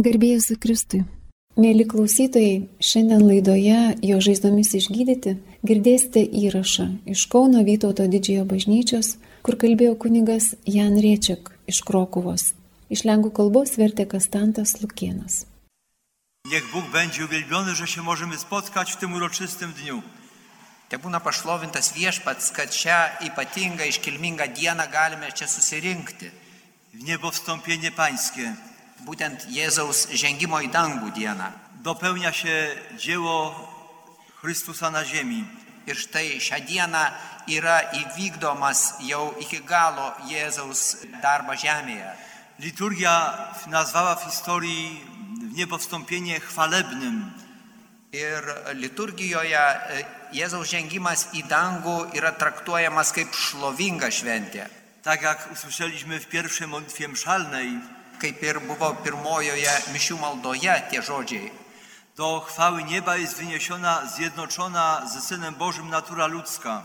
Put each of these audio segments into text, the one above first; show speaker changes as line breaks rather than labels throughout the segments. Garbėjus Kristui.
Mėly klausytojai, šiandien laidoje Jo žaizdomis išgydyti girdėsite įrašą iš Kauno Vytauto didžiojo bažnyčios, kur kalbėjo kunigas Jan Riečiak iš Krokuvos. Iš lenkų kalbos vertė Kastantas Lukienas.
Niech Bóg będzie uwielbiony, że się możemy spotkać w tym uroczystym dniu.
Te būna pašlovintas viešpats, kad šią ypatingą iškilmingą dieną galime čia susirinkti.
W niebo wstąpienie Pańskie
Būtent Jėzaus žengimo į dangų dieną.
dopełnia się dzieło Chrystusa na ziemi.
Ir štai šią dieną yra įvykdomas jau iki galo Jėzaus darbo žemėje.
Liturgia nazwała w historii w niebo wstąpienie chwalebnym.
Ir liturgijoje e, Jėzaus žengimas į dangų yra traktuojamas kaip šlovinga šventė,
Tak jak usłyszeliśmy w pierwszej modlitwie mszalnej,
kaip ir buvo pirmojoje mišių maldoje tie žodžiai.
do chwały nieba jest wyniesiona, zjednoczona ze Synem Bożym natura ludzka.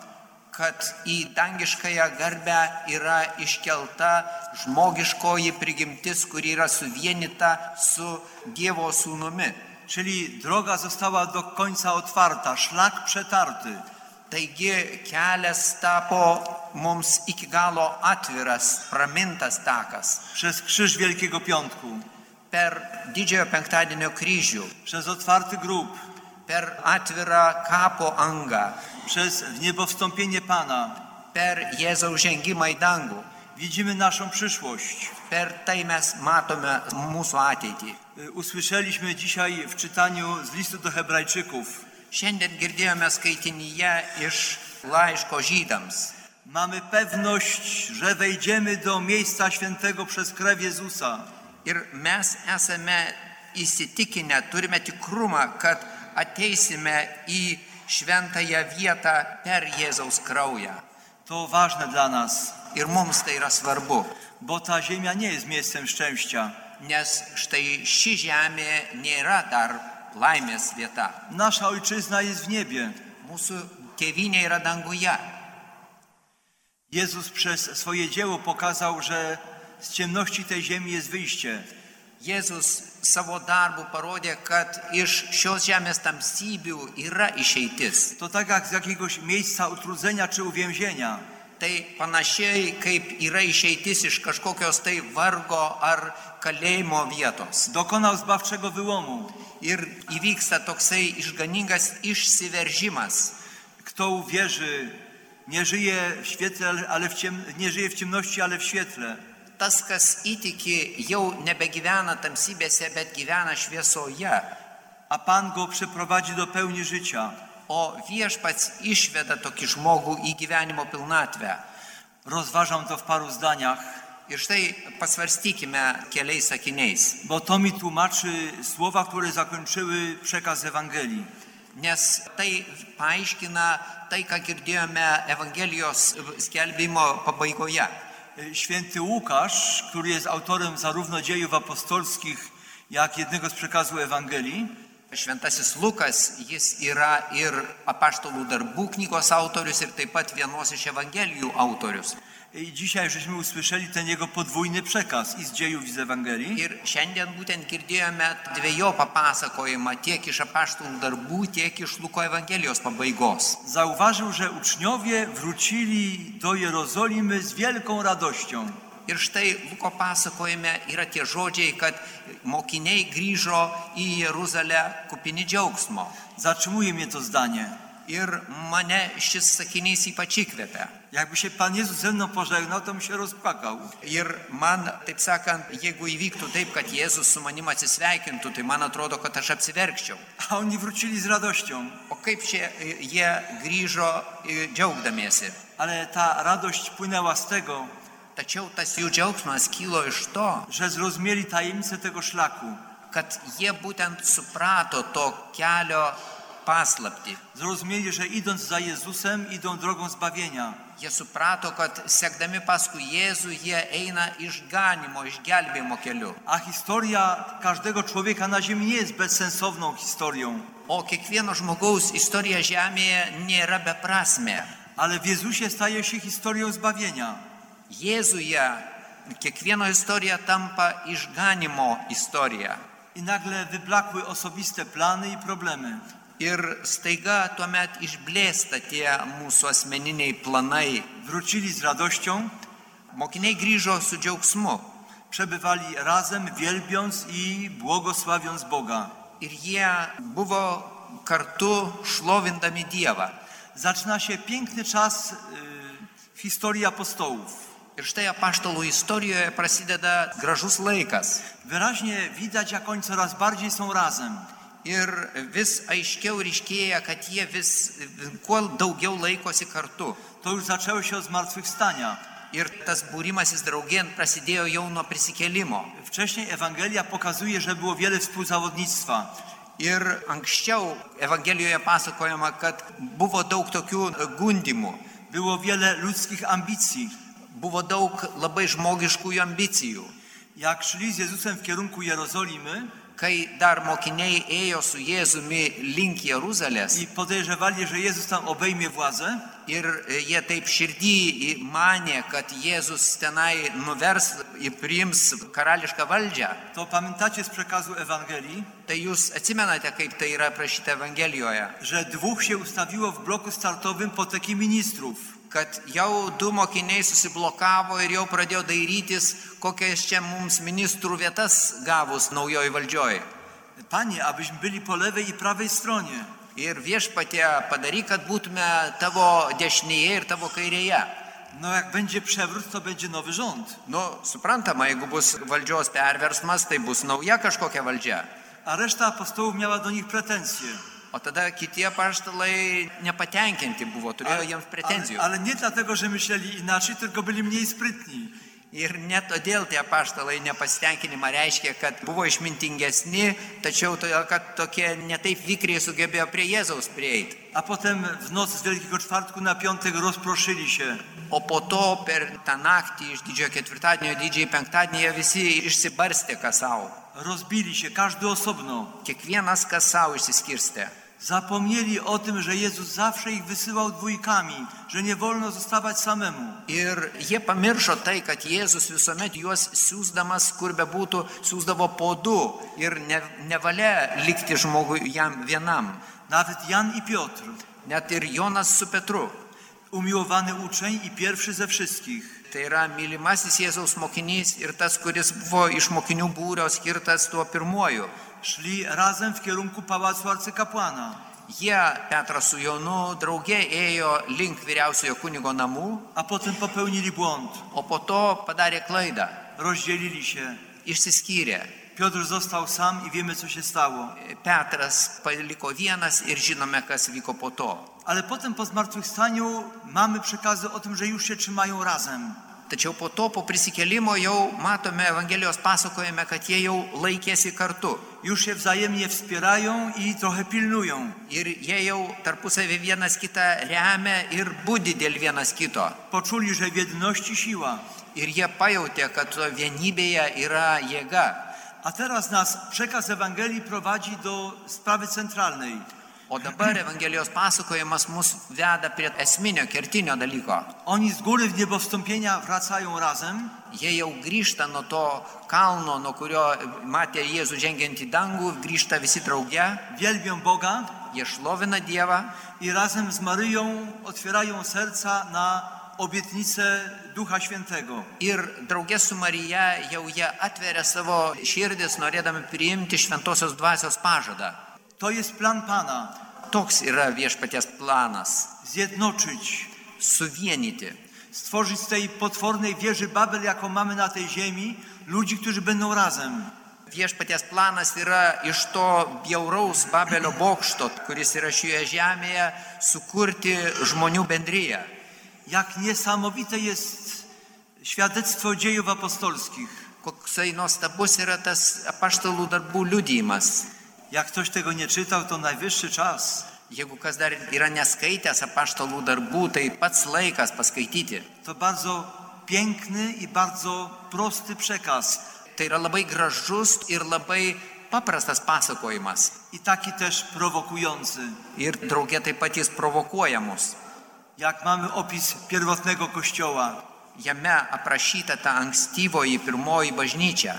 kad į dangiškąją garbę yra iškelta žmogiškoji prigimtis, kuri yra suvienita su Dievo sūnumi.
Czyli droga została do końca otwarta, szlak przetarty.
Taigi kelias tapo mums iki galo atviras, pramintas takas
Przez Krzyż Wielkiego Piątku,
per didžiojo penktadienio kryžių,
przez otwarty grób,
per atvirą kapo angą,
przez w niebo wstąpienie Pana
per Jėzaus žengimą į dangų.
widzimy naszą przyszłość.
Per tai mes matome mūsų ateitį.
Y, Usłyszeliśmy dzisiaj w czytaniu z listu do Hebrajczyków.
Šiandien girdėjome skaitinyje iš laiško žydams.
Mamy pewność, że wejdziemy do miejsca świętego przez krew Jezusa.
Ir mes esame įsitikinę, turime tikrumą, kad ateisime į šventąją vietą per Jėzaus kraują.
To ważne dla nas,
Ir mums tai yra svarbu,
bo ta ziemia nie jest miejscem szczęścia.
nes štai ši žemė nėra dar laimės vieta.
Nasza ojczyzna jest w niebie.
Mūsų tėvynė yra danguje.
Jezus przez swoje dzieło pokazał, że z ciemności tej ziemi jest wyjście.
Jėzus savo darbu parodė, kad iš šios žemės tamsybių yra išeitis.
To tak jak z jakiegoś miejsca utrudzenia czy uwięzienia.
Tai panašiai kaip yra išeitis iš kažkokios tai vargo ar kalėjimo vietos.
Dokonał zbawczego wyłomu.
Ir įvyksta toksai išganingas išsiveržimas.
Kto uwierzy, nie żyje w świetle, ale w ciem... nie żyje w ciemności, ale w świetle.
Tas, kas įtiki, jau nebegyvena tamsybėse, bet gyvena šviesoje.
A Pan go przeprowadzi do pełni życia.
O viešpats išveda tokį žmogų į gyvenimo pilnatvę.
Rozważam to w paru zdaniach,
Ir štai pasvarstykime keliais sakiniais.
bo to mi tłumaczy słowa, które zakończyły przekaz Ewangelii.
Nes tai paaiškina tai, ką girdėjome Evangelijos skelbimo pabaigoje.
Święty Łukasz, który jest autorem zarówno dziejów apostolskich, jak jednego z przekazów Ewangelii,
Šventasis Lukas, jis yra ir apaštalų darbų knygos autorius ir taip pat vienos iš Evangelijų autorius.
i dzisiaj żeśmy usłyszeli ten jego podwójny przekaz i z dziejów, i z Ewangelii.
Ir šiandien būtent girdėjome dviejų papasakojimą tiek iš apaštalų darbų, tiek iš Luko Evangelijos pabaigos.
Zauważył, że uczniowie wrócili do Jerozolimy z wielką radością.
Ir štai Luko pasakojime yra tie žodžiai, kad mokiniai grįžo į Jeruzalę kupini džiaugsmo.
Zatrzymuje mnie to zdanie.
Ir mane šis sakinys ypač įkvepia.
Jakby się Pan Jezus ze mną pożegnał, no to bym się rozpłakał.
Ir man, taip sakant, jeigu įvyktų taip, kad Jėzus su manim atsisveikintų, tai man atrodo, kad aš apsiverkčiau.
A oni wrócili z radością.
O kaip čia e, jie grįžo e, džiaugdamiesi?
Ale ta radość płynęła z tego,
Tačiau tas jų džiaugsmas kilo iš to,
że zrozumieli tajemnicę tego szlaku.
kad jie būtent suprato to kelio paslapti.
Zrozumieli, że idąc za Jezusem, idą drogą zbawienia.
Jie suprato, kad sekdami paskui Jėzų jie eina išganimo, išgelbėjimo keliu.
A historia każdego człowieka na ziemi nie jest bezsensowną historią,
O kiekvieno žmogaus istorija žemėje nėra beprasmė.
ale w Jezusie staje się historią zbawienia.
Jėzuje kiekvieno istorija tampa išganimo istorija.
i nagle wyblakły osobiste plany i problemy.
Ir staiga tuomet išblėsta tie mūsų asmeniniai planai.
Wrócili z radością,
Mokiniai grįžo su džiaugsmu
przebywali razem, wielbiąc i błogosławiąc Boga.
ir jie buvo kartu šlovindami Dievą.
Zaczyna się piękny czas y, w historii apostołów.
Ir štai apaštalų istorijoje prasideda gražus laikas.
Wyraźnie widać, jak oni coraz bardziej są razem.
Ir vis aiškiau ryškėja, kad jie vis kuo daugiau laikosi kartu.
To już zaczęło się od zmartwychwstania.
Ir tas būrimasis draugien prasidėjo jau nuo prisikelimo.
Wcześniej Ewangelia pokazuje, że było wiele współzawodnictwa.
Ir anksčiau Evangelijoje pasakojama, kad buvo daug tokių gundimų,
Było wiele ludzkich ambicji.
buvo daug labai žmogiškųjų ambicijų.
Jak szli z Jezusem w kierunku Jerozolimy
Kai dar mokiniai ėjo su Jėzumi link Jeruzalės
i podejrzewali, że Jezus tam obejmie władzę,
ir jie taip širdį į- manė, kad Jėzus tenai nuvers ir priims karališką valdžią,
to pamiętacie z przekazu Ewangelii,
tai jūs atsimenate, kaip tai yra aprašyta Evangelijoje,
że dwóch się ustawiło w bloku startowym po teki ministrów.
kad jau du mokiniai susiblokavo ir jau pradėjo dairytis, kokias čia mums ministrų vietas gavus naujoji valdžioji.
Panie, abyśmy byli po lewej i prawej stronie.
Ir viešpatė padaryk, kad būtume tavo dešinėje ir tavo kairėje.
No jak będzie przewrót, to będzie nowy rząd.
Nu, suprantama, jeigu bus valdžios perversmas, tai bus nauja kažkokia valdžia.
A reszta apostołów miała do nich pretensje.
O tada kiti apaštalai nepatenkinti buvo, turėjo jiems
ale,
pretenzijų.
ale nie dlatego, że myśleli inaczej, tylko byli mniej sprytni.
Ir net todėl tie apaštalai nepasitenkinimą reiškia, kad buvo išmintingesni, tačiau todėl, kad tokie netaip vikriai sugebėjo prie Jėzaus prieiti.
A potem w noc z Wielkiego Czwartku na piątek rozproszyli się.
O po to per tą naktį iš didžiojo ketvirtadienio į didžiąjį penktadienį jie visi išsibarstė kas savo.
Rozbili się, każdy osobno.
Kiekvienas kas savo išsiskirstė.
Zapomnieli o tym, że Jezus zawsze ich wysyłał dwójkami, że nie wolno zostawać samemu.
Ir jie pamiršo tai, kad Jėzus visuomet juos siūsdamas, kur be būtų, siūsdavo po du ir ne, nevalia likti žmogui jam vienam.
Nawet Jan i Piotr,
Net ir Jonas su Petru,
umiłowany uczeń i pierwszy ze wszystkich,
tai yra mylimasis Jėzaus mokinys ir tas, kuris buvo iš mokinių būrio skirtas tuo pirmuoju.
szli razem w kierunku pałacu arcykapłana.
Jie, Petras su Jonu, draugė ėjo link vyriausiojo kunigo namų,
A potem popełnili błąd,
o po to padarė klaidą,
rozdzielili się.
išsiskyrė.
Piotr został sam i wiemy, co się stało.
Petras paliko vienas ir žinome, kas vyko po to.
Ale potem po zmartwychwstaniu mamy przekazy o tym, że już się trzymają razem.
Tačiau po to, po prisikelimo jau matome Evangelijos pasakojime, kad jie jau laikėsi kartu
Już się wzajemnie wspierają i trochę pilnują.
ir jie jau tarpusavį vienas kitą remia ir būdi dėl vienas kito.
Poczuli, że w jedności siła.
Ir jie pajautė, kad to vienybėje yra jėga.
A teraz nas przekaz Ewangelii prowadzi do sprawy centralnej.
O dabar Evangelijos pasakojimas mus veda prie esminio, kertinio dalyko.
Oni z góry w niebowstąpienia wracają razem,
Jie jau grįžta nuo to kalno, nuo kurio matė Jėzų žengiant į dangų, grįžta visi drauge,
wielbią Boga
jie šlovina Dievą
i razem z Maryją otwierają serca na obietnicę Ducha Świętego.
Ir draugė su Marija jau jie atveria savo širdis, norėdami priimti šventosios dvasios pažadą.
To jest plan Pana
Toks yra viešpaties planas
zjednoczyć,
- suvienyti.
stworzyć z tej potwornej wieży Babel, jaką mamy na tej ziemi, ludzi, którzy będą razem.
Viešpaties planas yra iš to bjauraus Babelio bokšto, kuris yra šioje žemėje, sukurti žmonių bendryją.
Jak niesamowite jest świadectwo dziejów apostolskich.
Koksai nuostabus yra tas apaštalų darbų liudijimas.
Jak ktoś tego nie czytał, to najwyższy czas.
Jeigu kas dar yra neskaitęs apaštalų darbų, tai pats laikas paskaityti.
To bardzo piękny i bardzo prosty przekaz.
Tai yra labai gražus ir labai paprastas pasakojimas.
I taki też prowokujący.
Ir draugė taip pat jis provokuoja mus.
Jak mamy opis pierwotnego kościoła,
Jame aprašyta ta ankstyvoji pirmoji bažnyčia.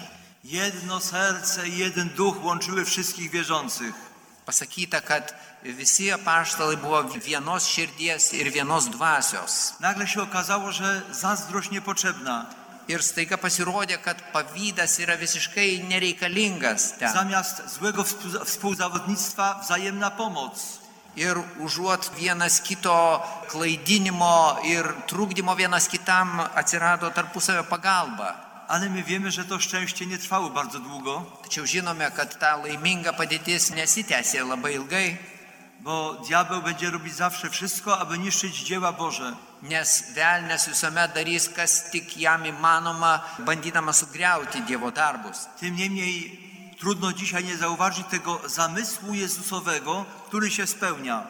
Jedno serce i jeden duch łączyły wszystkich wierzących.
Pasakyta, kad visi apaštalai buvo vienos širdies ir vienos dvasios.
Nagle się okazało, że zazdrość niepotrzebna.
Ir staiga pasirodė, kad pavydas yra visiškai nereikalingas ten.
Zamiast złego współ- współzawodnictwa wzajemna pomoc.
Ir užuot vienas kito klaidinimo ir trukdymo vienas kitam atsirado tarpusavio pagalba.
Ale my wiemy, że to szczęście nie trwało bardzo długo,
Tačiau žinome, kad ta laiminga padėtis nesitęsė labai ilgai,
bo diabeł będzie robić zawsze wszystko, aby niszczyć dzieła Boże.
nes velnės visuomet darys, kas tik jam įmanoma, bandydamas sugriauti Dievo darbus.
Tym niemniej trudno dzisiaj nie zauważyć tego zamysłu Jezusowego, który się spełnia.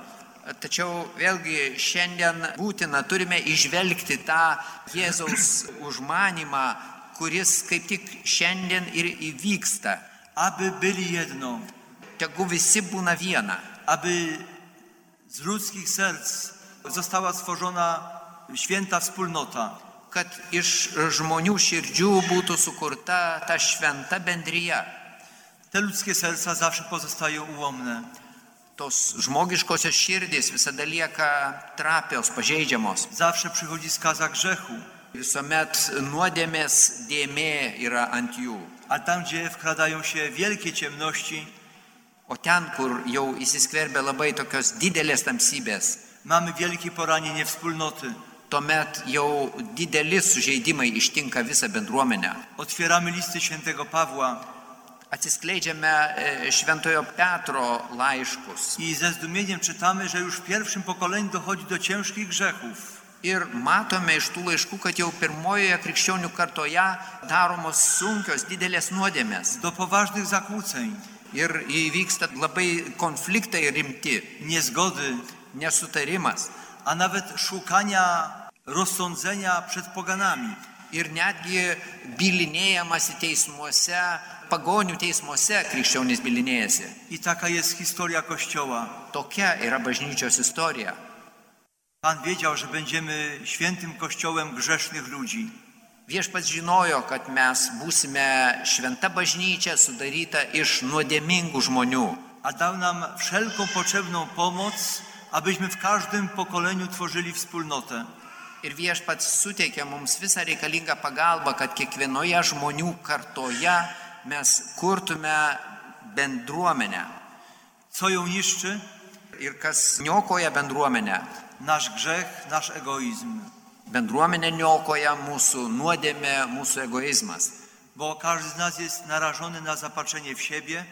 Tačiau vėlgi šiandien būtina turime išvelgti tą Jėzaus užmanimą, kuris kaip tik šiandien ir įvyksta.
Aby byli jedno,
Tegu visi būna viena,
aby z ludzkich serc została stworzona święta wspólnota.
kad iš žmonių širdžių būtų sukurta ta šventa bendryja.
Te ludzkie serca zawsze pozostają ułomne.
Tos žmogiškosios širdys visada lieka trapios, pažeidžiamos.
Zawsze przychodzi skaza grzechu,
Visuomet nuodėmės dėmė yra ant jų.
a tam, gdzie wkradają się wielkie ciemności,
O ten, kur jau įsiskverbia labai tokios didelės tamsybės,
mamy wielkie poranienie wspólnoty.
tuomet jau dideli sužeidimai ištinka visą bendruomenę.
Otwieramy listy świętego Pawła
Atsiskleidžiame e, Šventojo Petro laiškus
i ze zdumieniem czytamy, że już w pierwszym pokoleniu dochodzi do ciężkich grzechów.
ir matome iš tų laiškų, kad jau pirmojoje krikščionių kartoje daromos sunkios didelės nuodėmės
do poważnych zakłóceń,
ir įvyksta labai konfliktai rimti,
niezgody,
nesutarimas
a nawet szukania rozsądzenia przed poganami.
ir netgi bilinėjamasi teismuose, pagonių teismuose krikščionys bilinėjasi.
I taka jest historia Kościoła.
Tokia yra bažnyčios istorija.
Pan wiedział, że będziemy świętym Kościołem grzesznych ludzi.
Viešpats žinojo, kad mes būsime šventa bažnyčia sudaryta iš nuodėmingų žmonių
a dał nam wszelką potrzebną pomoc, abyśmy w każdym pokoleniu tworzyli wspólnotę.
ir viešpats suteikė mums visą reikalingą pagalbą, kad kiekvienoje žmonių kartoje mes kurtume bendruomenę.
Co ją niszczy?
Ir kas niokoja bendruomenę?
Nasz grzech, nasz egoizm.
Bendruomenė niokoja mūsų nuodėmė, mūsų egoizmas.
Bo każdy z nas jest narażony na zapatrzenie w siebie,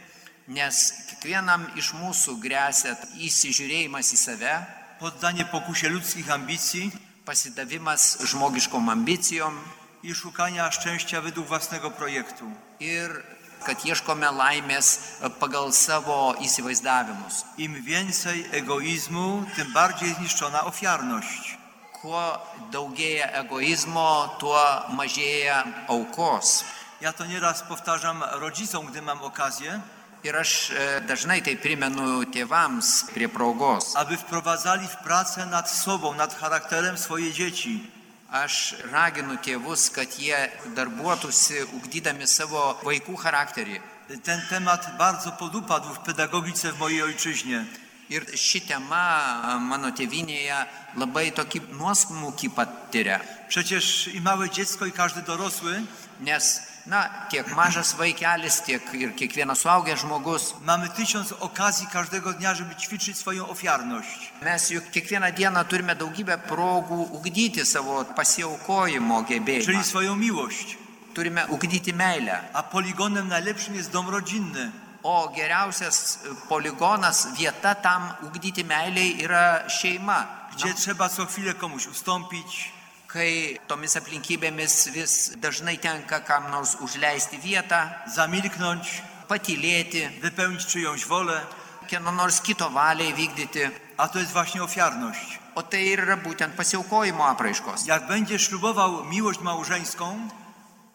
Nes kiekvienam iš mūsų grėsia įsižiūrėjimas į save,
poddanie pokusie ludzkich ambicji
pasidavimas žmogiškom ambicijom,
i szukania szczęścia według własnego projektu.
ir kad ieškome laimės e, pagal savo įsivaizdavimus.
Im więcej egoizmu, tym bardziej zniszczona ofiarność.
Kuo daugėja egoizmo, tuo mažėja aukos.
Ja to nieraz powtarzam rodzicom, gdy mam okazję,
Ir aš e, dažnai tai primenu tėvams prie progos.
aby wprowadzali w pracę nad sobą, nad charakterem swoje dzieci.
Aš raginu tėvus, kad jie darbuotųsi, ugdydami savo vaikų charakterį.
Ten temat bardzo podupadł w pedagogice w mojej ojczyźnie.
Ir ši tema e, mano tėvinėje labai tokį nuosmukį patiria.
Przecież i małe dziecko, i każdy dorosły
Nes, na, tiek mažas vaikelis, tiek ir kiekvienas suaugęs žmogus
mamy tysiąc okazji każdego dnia, żeby ćwiczyć swoją ofiarność.
Mes juk kiekvieną dieną turime daugybę progų ugdyti savo pasiaukojimo
Czyli
gebėjimą.
swoją miłość.
Turime ugdyti meilę.
A poligonem najlepszym jest dom rodzinny.
O geriausias poligonas vieta tam ugdyti meiliai yra šeima.
gdzie trzeba co chwilę komuś ustąpić,
Kai tomis aplinkybėmis vis dažnai tenka kam nors užleisti vietą,
zamilknąć,
patylėti,
wypełnić czyjąś wolę,
kieno nors kito valiai vykdyti.
a to jest właśnie ofiarność.
O tai ir yra būtent pasiaukojimo apraiškos.
Jak będziesz ślubował miłość małżeńską,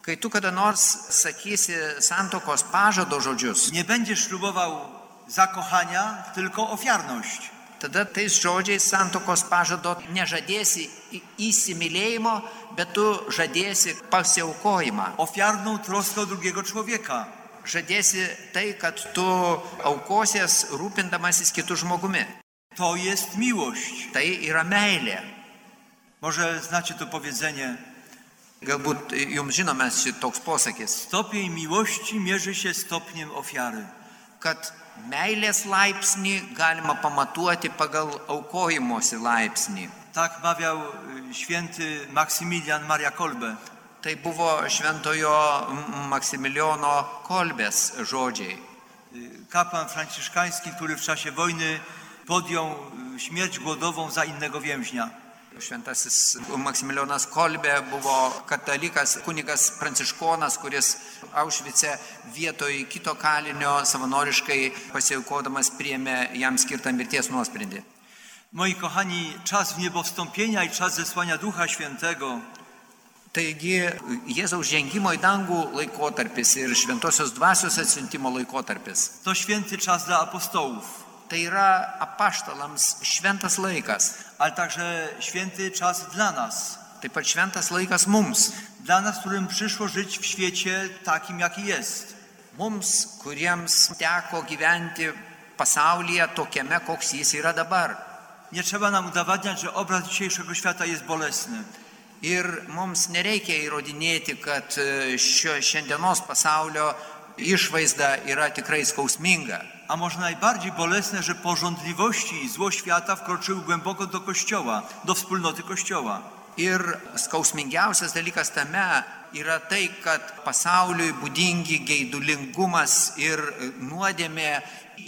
Kai tu kada nors sakysi santokos pažado žodžius,
nie będziesz ślubował zakochania, tylko ofiarność.
tada tais žodžiais santokos pažado nežadėsi į- įsimylėjimo, bet tu žadėsi pasiaukojimą.
ofiarną troskę o drugiego człowieka.
Žadėsi tai, kad tu aukosies rūpindamasis kitų žmogumi.
To jest miłość.
Tai yra meilė.
Może znacie to powiedzenie.
Galbūt jums žinomas šitoks posakis.
Stopień miłości mierzy się stopniem ofiary.
kad meilės laipsnį galima pamatuoti pagal aukojimosi laipsnį.
Tak mawiał y, święty Maksymilian Maria Kolbe.
Tai buvo šventojo M- Maksimilijono Kolbės žodžiai.
Y, Kapłan franciszkański, który w czasie wojny podjął y, śmierć głodową za innego więźnia.
Šventasis Maksimilijonas Kolbė buvo katalikas, kunigas pranciškonas, kuris Aušvice vietoj kito kalinio savanoriškai pasiaukodamas priėmė jam skirtą mirties nuosprendį.
Moi kochani, czas w niebowstąpienia i czas zesłania Ducha Świętego
Taigi Jėzaus žengimo į dangų laikotarpis ir šventosios dvasios atsiuntimo laikotarpis.
to święty czas dla apostołów,
Tai yra apaštalams šventas laikas,
ale także święty czas dla nas.
taip pat šventas laikas mums,
Dla nas, którym przyszło żyć w świecie takim, jaki jest.
mums, kuriems teko gyventi pasaulyje tokiame, koks jis yra dabar.
Nie trzeba nam udowadniać, że obraz dzisiejszego świata jest bolesny.
Ir mums nereikia įrodinėti, kad e, šio šiandienos pasaulio išvaizda yra tikrai skausminga.
A może najbardziej bolesne, że pożądliwości i zło świata wkroczyły głęboko do Kościoła, do wspólnoty Kościoła.
Ir skausmingiausias dalykas tame yra tai, kad pasauliui būdingi geidulingumas ir e, nuodėmė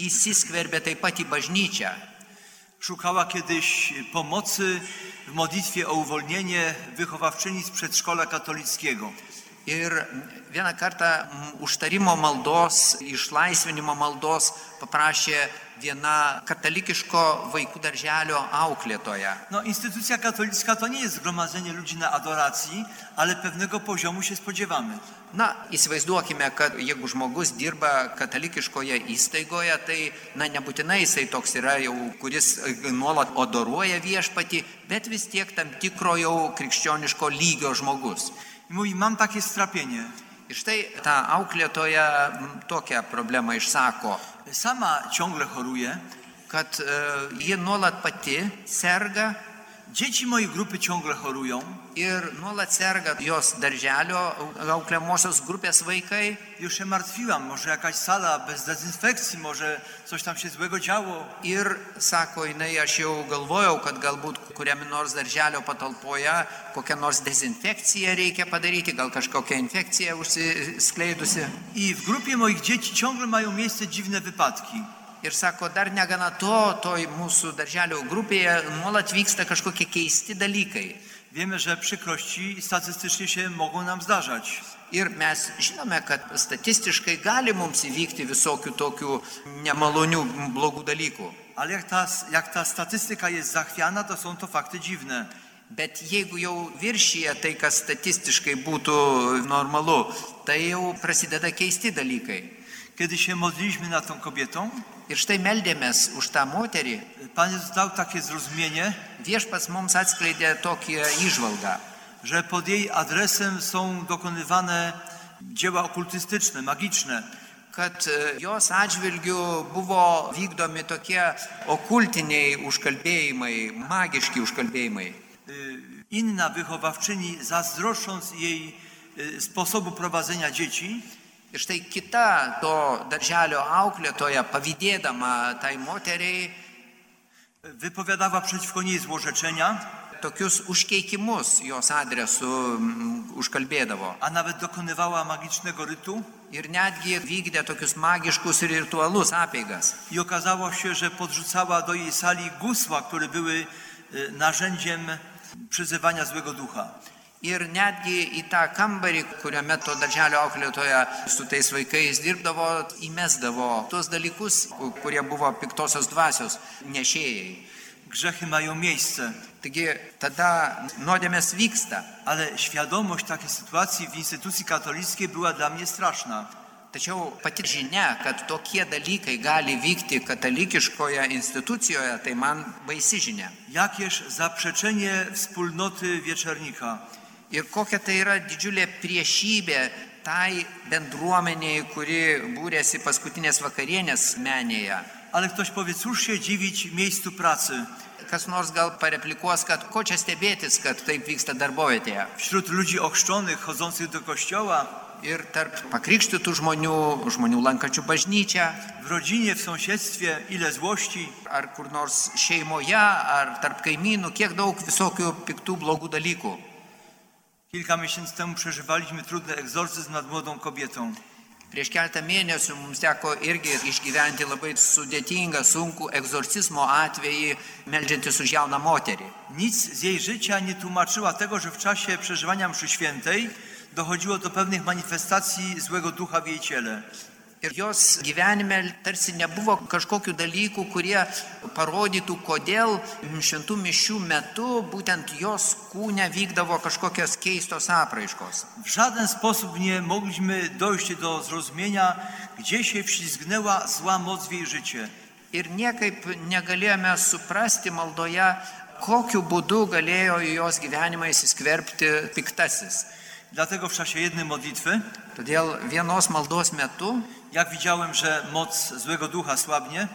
įsiskverbė taip pat į bažnyčią.
Szukała kiedyś pomocy w modlitwie o uwolnienie wychowawczyni z przedszkola katolickiego.
Ir vieną kartą mm, užtarimo maldos, išlaisvinimo maldos paprašė viena katalikiško vaikų darželio auklėtoja.
No, instytucja katolicka to nie jest zgromadzenie ludzi na adoracji, ale pewnego poziomu się spodziewamy.
Na, įsivaizduokime, kad jeigu žmogus dirba katalikiškoje įstaigoje, tai, na, nebūtinai jisai toks yra jau, kuris e, nuolat odoruoja viešpatį, bet vis tiek tam tikro jau krikščioniško lygio žmogus.
I mówi, mam takie strapienie.
Ir štai ta auklėtoja mm, tokią problemą išsako.
Sama ciągle choruję,
kad e, ji nuolat pati serga
dzieci mojej grupy ciągle chorują.
ir nuolat serga jos darželio auklėmosios grupės vaikai.
Już się martwiłam, może jakaś sala bez dezynfekcji, może coś tam się złego działo.
Ir sako jinai, aš jau galvojau, kad galbūt kuriame nors darželio patalpoje kokią nors dezinfekciją reikia padaryti, gal kažkokią infekciją užsiskleidusi.
I w grupie moich dzieci ciągle mają miejsce dziwne wypadki.
Ir sako, dar negana to, toj mūsų darželio grupėje nuolat vyksta kažkokie keisti dalykai.
Wiemy, że przykrości statystycznie się mogą nam zdarzać.
Ir mes žinome, kad statistiškai gali mums įvykti visokių tokių nemalonių, blogų dalykų.
Ale jak ta, jak ta statystyka jest zachwiana, to są to fakty dziwne.
Bet jeigu jau viršyje tai, kas statistiškai būtų normalu, tai jau prasideda keisti dalykai.
Kiedy się modliliśmy nad tą kobietą,
Ir štai meldėmės už tą moterį,
Pan Jezus dał takie zrozumienie,
viešpas mums atskleidė tokią išvalgą,
że pod jej adresem są dokonywane dzieła okultystyczne, magiczne.
kad e, jos atžvilgių buvo vykdomi tokie okultiniai užkalbėjimai, magiški užkalbėjimai.
Y, Inna wychowawczyni, zazdrosząc jej y, sposobu prowadzenia dzieci,
Ir štai kita to darželio auklėtoja, pavydėdama tai moteriai,
wypowiadała przeciwko niej złorzeczenia,
tokius užkeikimus jos adresu mm, užkalbėdavo.
a nawet dokonywała magicznego rytu.
Ir netgi vykdė tokius magiškus ritualus, apėgas.
I okazało się, że podrzucała do jej sali gusła, które były y, narzędziem przyzywania złego ducha.
Ir netgi į tą kambarį, kuriame to darželio auklėtoja su tais vaikais dirbdavo, įmesdavo tuos dalykus, ku- kurie buvo piktosios dvasios nešėjai.
Grzechy mają miejsce,
Taigi tada nuodėmės vyksta.
ale świadomość takiej sytuacji w instytucji katolickiej była dla mnie straszna.
Tačiau pati žinia, kad tokie dalykai gali vykti katalikiškoje institucijoje, tai man baisi žinia.
Jakież zaprzeczenie wspólnoty wieczernika.
Ir kokia tai yra didžiulė priešybė tai bendruomeniai, kuri būrėsi paskutinės vakarienės menėje.
Ale ktoś powie, cóż się dziwić miejscu pracy
Kas nors gal pareplikuos, kad ko čia stebėtis, kad taip vyksta darbovietėje.
wśród ludzi ochrzczonych, chodzących do kościoła,
Ir tarp pakrikštytų žmonių, žmonių lankančių bažnyčią,
w rodzinie, w sąsiedztwie, ile złości.
ar kur nors šeimoje, ar tarp kaimynų, kiek daug visokių piktų blogų dalykų.
Kilka miesięcy temu przeżywaliśmy trudny egzorcyzm nad młodą kobietą.
Prieš keletą mėnesių mums teko irgi išgyventi labai sudėtingą, sunkų egzorcizmo atvejį, melžiantis už jauną moterį.
Nic z jej życia nie tłumaczyła tego, że w czasie przeżywania mszy świętej dochodziło do pewnych manifestacji złego ducha w jej ciele.
Ir jos gyvenime tarsi nebuvo kažkokių dalykų, kurie parodytų, kodėl šventų mišių metu būtent jos kūne vykdavo kažkokios keistos apraiškos.
W żaden sposób nie mogliśmy dojść do zrozumienia, gdzie się wślizgnęła zła moc w jej życie.
Ir niekaip negalėjome suprasti maldoje, kokiu būdu galėjo į jos gyvenimą įsiskverbti piktasis.
Dlatego w czasie jednej modlitwy,
Todėl vienos maldos metu
jak widziałem, że moc złego ducha słabnie,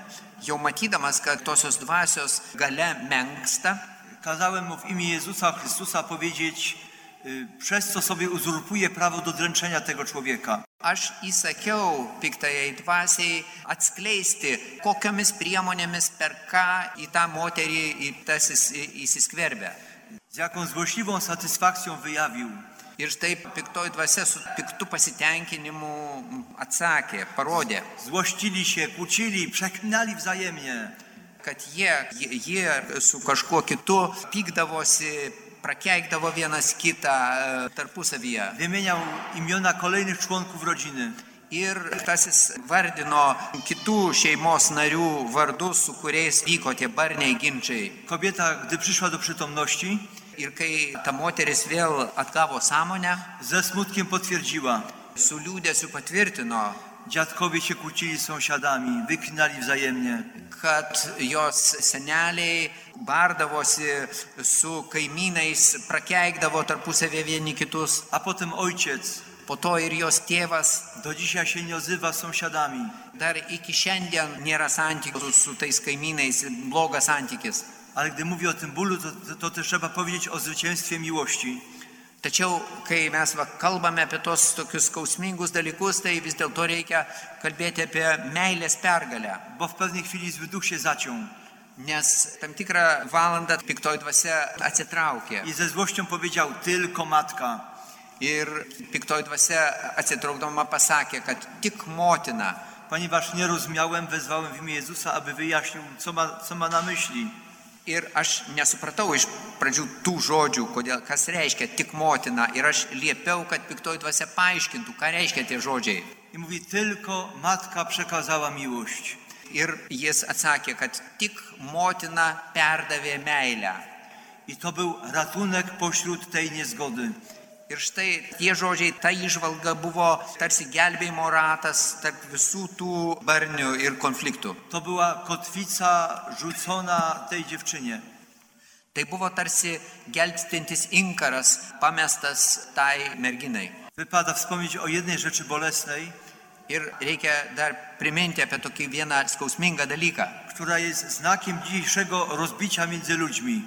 Jau matydamas, kad tosios dvasios gale menksta,
kazałem mu w imię Jezusa Chrystusa powiedzieć, y, przez co sobie uzurpuje prawo do dręczenia tego człowieka.
aš įsakiau piktajai dvasiai atskleisti, kokiamis priemonėmis per ką į tą moterį į tas įs- į- įsiskverbia.
Z jaką złośliwą satysfakcją wyjawił,
Ir štai piktoji dvasia su piktu pasitenkinimu atsakė, parodė,
Złościli się, kłócili, przeklinali wzajemnie.
kad jie, jie- jie su kažkuo kitu pykdavosi, prakeikdavo vienas kitą e, tarpusavyje.
Wymieniał imiona kolejnych członków rodziny.
Ir tasis vardino kitų šeimos narių vardus, su kuriais vyko tie barniai ginčiai.
Kobieta, gdy przyszła do przytomności,
Ir kai ta moteris vėl atgavo sąmonę,
ze smutkiem potwierdziła.
su liūdėsiu patvirtino,
Dziadkowie się kłócili z sąsiadami, wyklinali wzajemnie.
kad jos seneliai bardavosi su kaimynais, prakeikdavo tarpusavė vieni kitus.
A potem ojciec
Po to ir jos tėvas
do dzisiaj się nie odzywa z sąsiadami.
dar iki šiandien nėra santykių su tais kaimynais, blogas santykis.
Ale gdy mówi o tym bólu, to, to, to też trzeba powiedzieć o zwycięstwie miłości.
Tačiau, kai mes va, kalbame apie tos tokius skausmingus dalykus, tai vis dėlto reikia kalbėti apie meilės pergalę.
Bo w pewnej chwili zły duch się zaciął
Nes tam tikrą valandą piktoji dvasia atsitraukė.
i ze złością powiedział tylko matka.
Ir piktoji dvasia atsitraukdama pasakė, kad tik motina.
Ponieważ nie rozumiałem, wezwałem w imię Jezusa, aby wyjaśnił, co ma, co ma na myśli.
Ir aš nesupratau iš pradžių tų žodžių, kodėl, kas reiškia tik motina. Ir aš liepiau, kad piktoji dvasia paaiškintų, ką reiškia tie žodžiai.
I mówi, tylko matka przekazała miłość.
Ir jis atsakė, kad tik motina perdavė meilę.
I to był ratunek pośród tej niezgody.
Ir štai tie žodžiai, ta išvalga buvo tarsi gelbėjimo ratas tarp visų tų barnių ir konfliktų.
To była kotwica rzucona tej dziewczynie.
Tai buvo tarsi gelbstintis inkaras pamestas tai merginai.
Wypada wspomnieć o jednej rzeczy bolesnej,
Ir reikia dar priminti apie tokį vieną skausmingą dalyką.
która jest znakiem dzisiejszego rozbicia między ludźmi.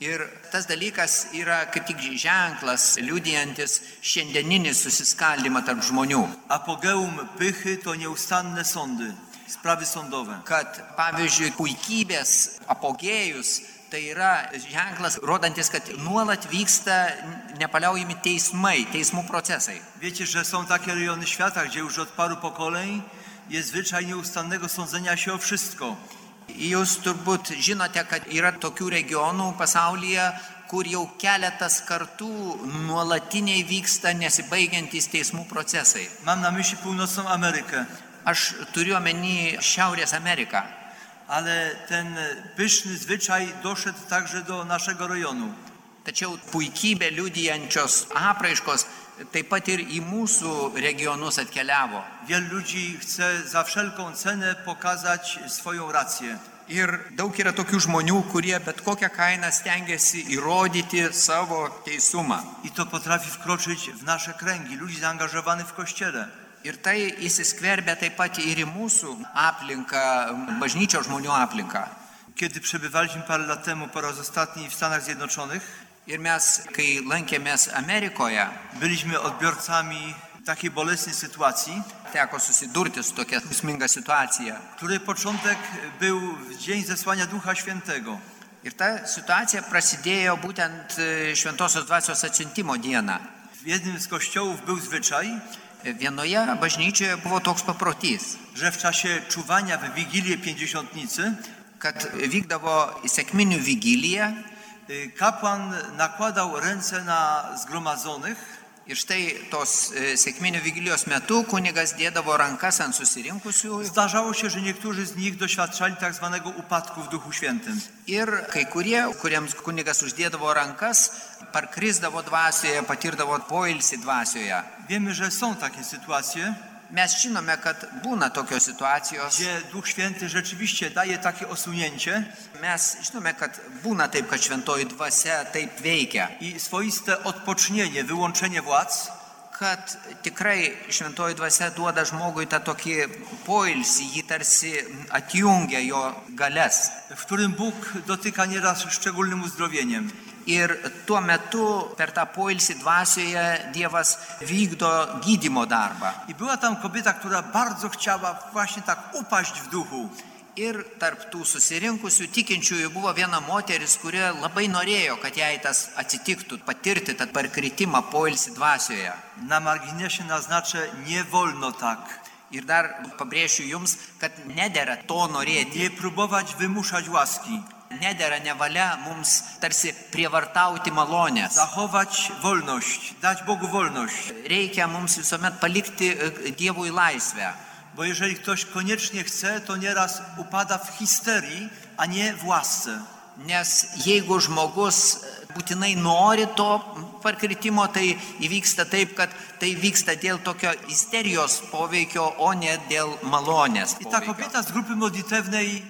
Ir tas dalykas yra kaip tik ženklas, liudijantis šiandieninį susiskaldimą tarp žmonių.
Apogeum pychy to nieustanne sądy, sprawy sądowe.
Kad, pavyzdžiui, puikybės apogėjus tai yra ženklas, rodantis, kad nuolat vyksta nepaliaujami teismai, teismų procesai.
Wiecie, że są takie rejony świata, gdzie już od paru pokoleń jest zwyczaj nieustannego sądzenia się o wszystko.
Jūs turbūt žinote, kad yra tokių regionų pasaulyje, kur jau keletas kartų nuolatiniai vyksta nesibaigiantys teismų procesai.
Mam na myśli północną Amerykę,
Aš turiu omeny Šiaurės Ameriką.
ale ten pyszny zwyczaj doszedł także do naszego rejonu.
Tačiau puikybė liudijančios apraiškos taip pat ir į mūsų regionus atkeliavo.
Wielu ludzi chce za wszelką cenę pokazać swoją rację.
Ir daug yra tokių žmonių, kurie bet kokią kainą stengiasi įrodyti savo teisumą.
I to potrafi wkroczyć w nasze kręgi, ludzi zaangażowanych w kościele.
Ir tai įsiskverbia taip pat ir į mūsų aplinką, bažnyčios žmonių aplinką.
Kiedy przebywaliśmy parę lat temu po raz ostatni w Stanach Zjednoczonych,
Ir mes, kai lankėmės Amerikoje,
byliśmy odbiorcami takiej bolesnej sytuacji,
teko susidurti su tokia skausminga situacija.
której początek był w dzień zesłania Ducha Świętego.
Ir ta situacija prasidėjo būtent e, Šventosios dvasios atsiuntimo dieną.
W jednym z kościołów był zwyczaj,
Vienoje bažnyčioje buvo toks paprotys,
że w czasie czuwania w Wigilię Pięćdziesiątnicy
kad vykdavo sėkminių vigilija
y, kapłan nakładał ręce na zgromadzonych
ir štai tos e, sėkminių vigilijos metu kunigas dėdavo rankas ant susirinkusiųjų
Zdarzało się, że niektórzy z nich doświadczali tak zwanego upadku w Duchu Świętym.
ir kai kurie, kuriems kunigas uždėdavo rankas, parkrisdavo dvasioje, patirdavo poilsį dvasioje.
Wiemy, że są takie sytuacje,
Mes žinome, kad būna tokios situacijos.
gdzie Duch Święty rzeczywiście daje takie osunięcie
Mes žinome, kad būna taip, kad šventoji dvasia taip veikia.
i swoiste odpocznienie, wyłączenie władz,
kad tikrai šventoji dvasia duoda žmogui tą tokį poilsį, jį tarsi atjungia jo galės.
w którym Bóg dotyka nieraz szczególnym uzdrowieniem.
Ir tuo metu per tą poilsį dvasioje Dievas vykdo gydimo darbą.
I była tam kobieta, która bardzo chciała właśnie tak upaść w duchu.
Ir tarp tų susirinkusių tikinčiųjų buvo viena moteris, kuri labai norėjo, kad jai tas atsitiktų, patirti tą parkritimą poilsį dvasioje.
Na marginesie naznaczę, nie wolno tak.
Ir dar pabrėšiu jums, kad nedėra to norėti.
Nie próbować wymuszać łaski.
Nedėra nevalia mums tarsi prievartauti malonės.
Zachować wolność, dać Bogu wolność.
Reikia mums visuomet palikti e, Dievui laisvę.
Bo jeżeli ktoś koniecznie chce, to nieraz upada w histerii, a nie w łasce.
Nes jeigu žmogus e, būtinai nori to parkritimo, tai įvyksta taip, kad tai vyksta dėl tokio isterijos poveikio, o ne dėl malonės.
I ta
poveikio.
kobieta z grupy modlitewnej,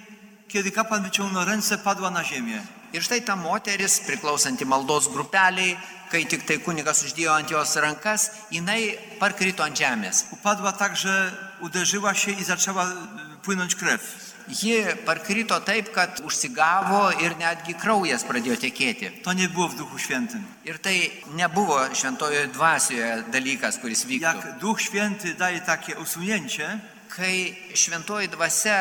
kiedy kapłan wyciągnął ręce, padła na ziemię.
Ir štai ta moteris, priklausanti maldos grupeliai, kai tik tai kunigas uždėjo ant jos rankas, jinai parkrito ant žemės.
Upadła tak, że uderzyła się i zaczęła y, płynąć krew.
Ji parkrito taip, kad užsigavo ir netgi kraujas pradėjo tekėti.
To nie było w Duchu Świętym.
Ir tai nebuvo šventojoje dvasioje dalykas, kuris vyktų.
Jak Duch Święty daje takie usunięcie,
Kai šventoji dvasia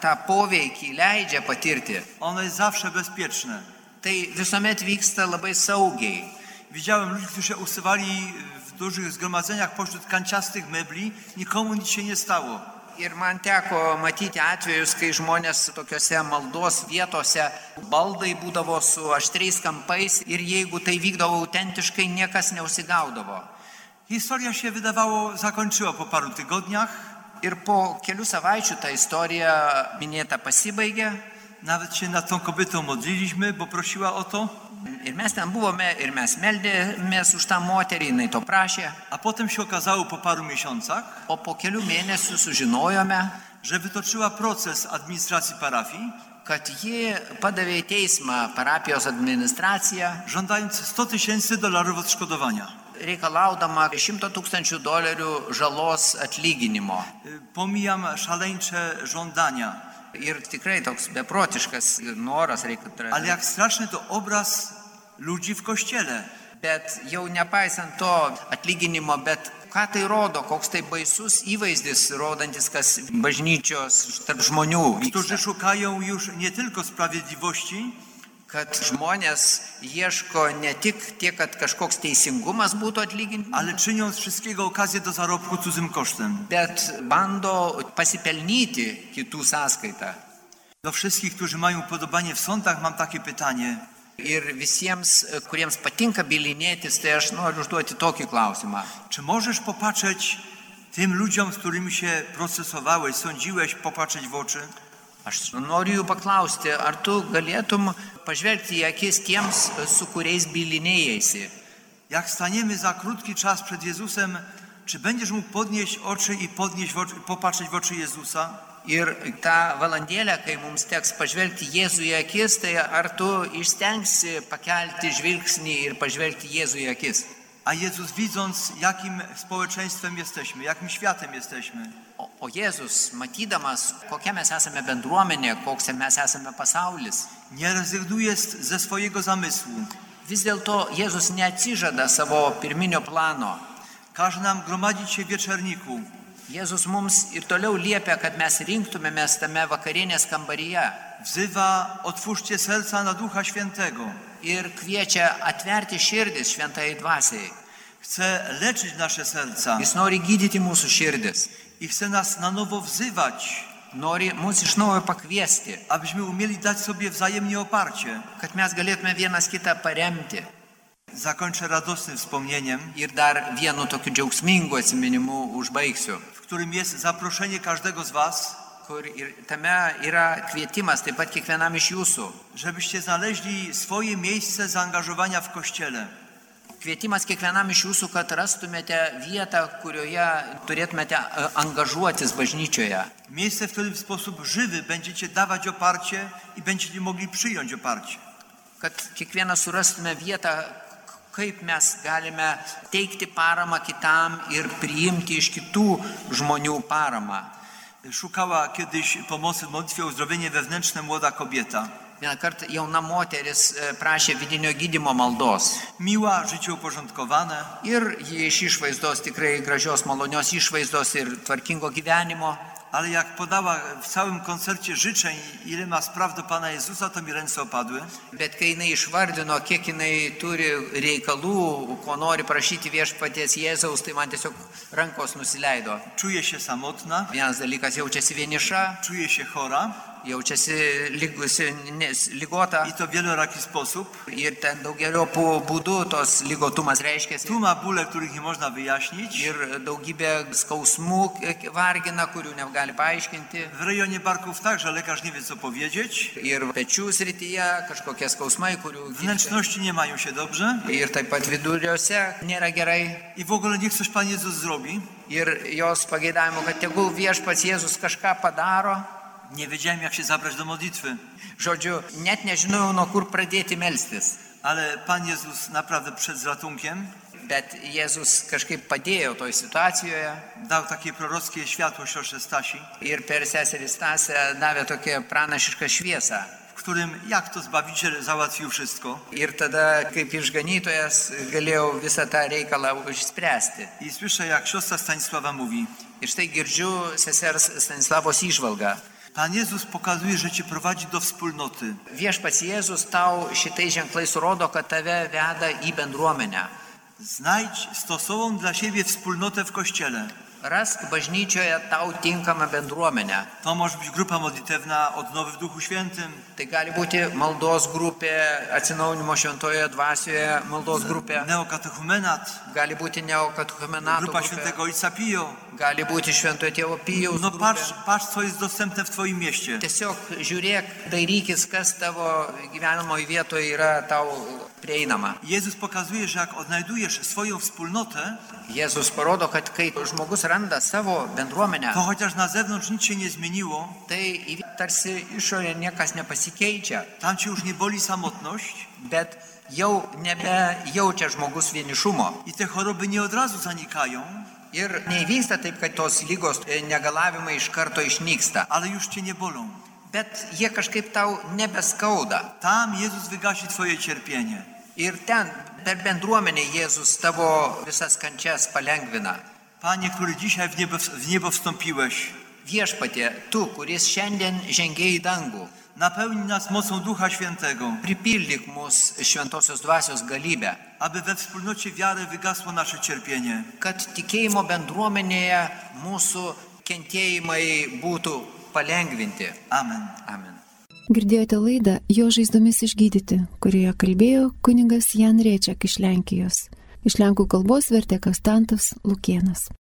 tą poveikį leidžia patirti,
ono jest zawsze bezpieczne.
tai visuomet vyksta labai saugiai.
Widziałem ludzi, którzy się usuwali w dużych zgromadzeniach pośród kanciastych mebli, nikomu nic się nie stało.
Ir man teko matyti atvejus, kai žmonės tokiuose maldos vietose baldai būdavo su aštriais kampais ir jeigu tai vykdavo autentiškai, niekas neusigaudavo.
Historia się wydawało zakończyła po paru tygodniach,
Ir po kelių savaičių ta istorija minėta pasibaigė.
nawet się nad tą kobietą modliliśmy, bo prosiła o to,
Ir mes ten buvome, ir mes meldėmės už tą moterį, jinai to prašė.
a potem się okazało po paru miesiącach,
O po kelių mėnesių sužinojome,
że wytoczyła proces administracji parafii,
kad ji padavė į teismą parapijos administraciją,
żądając 100 tysięcy dolarów odszkodowania.
reikalaudama 100 tūkstančių dolerių žalos atlyginimo.
Y, Pomijam šaleńcze żądania,
Ir tikrai toks beprotiškas noras
ale
reikia.
jak straszny to obraz ludzi w kościele.
Bet jau nepaisant to atlyginimo, bet ką tai rodo, koks tai baisus įvaizdis, rodantis, kas bažnyčios tarp žmonių. Vyksta.
którzy szukają już nie tylko sprawiedliwości,
Kad žmonės ieško ne tik tiek, kad kažkoks teisingumas būtų atlyginimas,
ale czynią z wszystkiego okazję do zarobku cudzym kosztem.
bet bando pasipelnyti kitų sąskaitą.
Do wszystkich, którzy mają podobanie w sądach, mam takie pytanie.
Ir visiems, e, kuriems patinka bilinėtis, tai aš noriu užduoti tokį klausimą.
Czy możesz popatrzeć tym ludziom, z którymi się procesowałeś, sądziłeś, popatrzeć w oczy?
Aš noriu jų paklausti, ar e, tu galėtum pažvelgti į akis tiems, su kuriais bilinėjasi.
Jak staniemy za krótki czas przed Jezusem, czy będziesz mógł podnieść oczy i podnieść w oczy, popatrzeć w oczy Jezusa?
Ir tą valandėlę, kai mums teks pažvelgti Jėzų į akis, tai ar tu išstengsi pakelti žvilgsnį ir pažvelgti Jėzų į akis?
A Jezus widząc, jakim społeczeństwem jesteśmy, jakim światem jesteśmy,
O, o Jėzus, matydamas, kokia mes esame bendruomenė, koks mes esame pasaulis,
nie rezygnuje z- ze swojego zamysłu.
vis dėlto Jėzus neatsižada savo pirminio plano.
Każe nam gromadzić się w wieczerniku,
Jėzus mums ir toliau liepia, kad mes rinktumėmės tame vakarienės kambaryje
wzywa otwórzcie serca na Ducha Świętego.
ir kviečia atverti širdis šventai dvasiai.
Chce leczyć nasze serca
Jis nori gydyti mūsų širdis,
i chce nas na nowo wzywać,
nori mus iš naujo pakviesti,
abyśmy umieli dać sobie wzajemnie oparcie.
kad mes galėtume vienas kitą paremti.
Zakończę radosnym wspomnieniem,
Ir dar vienu tokiu džiaugsmingu atminimu užbaigsiu,
w którym jest zaproszenie każdego z Was,
kur ir tame yra kvietimas taip pat kiekvienam iš jūsų.
żebyście znaleźli swoje miejsce zaangażowania w Kościele.
Kvietimas kiekvienam iš jūsų, kad rastumėte vietą, kurioje turėtumėte e, angažuotis bažnyčioje.
Miejsce, w którym w sposób żywy będziecie dawać oparcie i będziecie mogli przyjąć oparcie.
Kad kiekvienas surastume vietą, k- kaip mes galime teikti paramą kitam ir priimti iš kitų žmonių paramą.
Szukała kiedyś pomocy w modlitwie o uzdrowienie wewnętrzne młoda kobieta.
Vieną kartą jauna moteris e, prašė vidinio gydimo maldos.
Miła, życie uporządkowane,
Ir ji iš išvaizdos tikrai gražios, malonios išvaizdos ir tvarkingo gyvenimo.
ale jak podała w całym koncercie życzeń, ile ma spraw do Pana Jezusa, to mi ręce opadły.
Bet kai jinai išvardino, kiek jinai turi reikalų, ko nori prašyti viešpaties Jėzaus, tai man tiesiog rankos nusileido.
Czuję się samotna,
Vienas dalykas jaučiasi vieniša,
czuję się chora
jaučiasi lygusi, nes, ligota
i to w wieloraki sposób.
ir ten daugeliopų būdų tos lygotumas reiškia.
Tu ma bóle, których nie można wyjaśnić.
Ir daugybė skausmų e, vargina, kurių negali paaiškinti.
W rejonie barków także lekarz nie wie, co powiedzieć.
ir pečių srityje kažkokie skausmai, kurių gydytoja-
Wnętrzności nie mają się dobrze
ir taip pat viduriuose nėra gerai.
i w ogóle niech coś Pan Jezus zrobi.
Ir jos pageidavimu, kad tegul viešpats Jėzus kažką padaro.
Nie wiedziałem, jak się zabrać do modlitwy,
Žodžiu, net nežinojau, nuo kur pradėti melstis.
ale Pan Jezus naprawdę przed ratunkiem
Bet Jėzus kažkaip padėjo toj situacijoje
dał takie prorockie światło siostrze Stasi,
ir per seserį Stasę davė tokią pranašišką šviesą.
w którym jak to Zbawiciel załatwił wszystko.
Ir tada, kaip išganytojas, galėjau visą tą reikalą išspręsti.
I słyszę, jak siostra Stanisława mówi,
Ir štai girdžiu sesers Stanislavos išvalgą.
Pan Jezus pokazuje, że Cię prowadzi do wspólnoty.
Viešpats Jėzus tau šitai ženklais rodo, kad tave veda į bendruomenę.
Znajdź stosową dla siebie wspólnotę w Kościele.
Rask bažnyčioje tau tinkamą bendruomenę.
To może być grupa modlitewna odnowy w Duchu Świętym,
Tai gali būti maldos grupė, atsinaujinimo šventoje dvasioje maldos grupė,
neokatechumenat,
gali būti neokatuhumenato
grupa
grupė,
Świętego Ojca Pio.
gali būti šventojo tėvo pijaus
No patrz,
grupė.
patrz, co jest dostępne w Twoim mieście.
Tiesiog žiūrėk, dairykis, kas tavo gyvenimo vietoje yra tau prieinama.
Jezus pokazuje, że jak odnajdujesz swoją wspólnotę,
Jėzus parodo, kad kai žmogus randa savo bendruomenę,
to chociaż na zewnątrz nic się nie zmieniło,
Tai įvy- tarsi išorė niekas nepasikeičia,
tam Cię już nie boli samotność
bet jau nebejaučia žmogus vienišumo.
i te choroby nie od razu zanikają,
Ir neįvyksta taip, kad tos lygos e, negalavimai iš karto išnyksta,
ale już Cię nie bolą.
bet jie kažkaip tau nebeskauda.
Tam Jezus wygasi Twoje cierpienie.
Ir ten per bendruomenę Jėzus tavo visas kančias palengvina.
Panie, który dzisiaj w niebo, w niebo wstąpiłeś,
Viešpatė, tu, kuris šiandien žengiai į dangų,
napełnij nas mocą Ducha Świętego,
pripildyk mus šventosios dvasios galybę,
aby we wspólnocie wiary wygasło nasze cierpienie.
kad tikėjimo bendruomenėje mūsų kentėjimai būtų palengvinti.
Amen.
Amen.
Girdėjote laidą Jo žaizdomis išgydyti, kurioje kalbėjo kunigas Jan Riečiak iš Lenkijos. Iš lenkų kalbos vertė Kastantas Lukienas.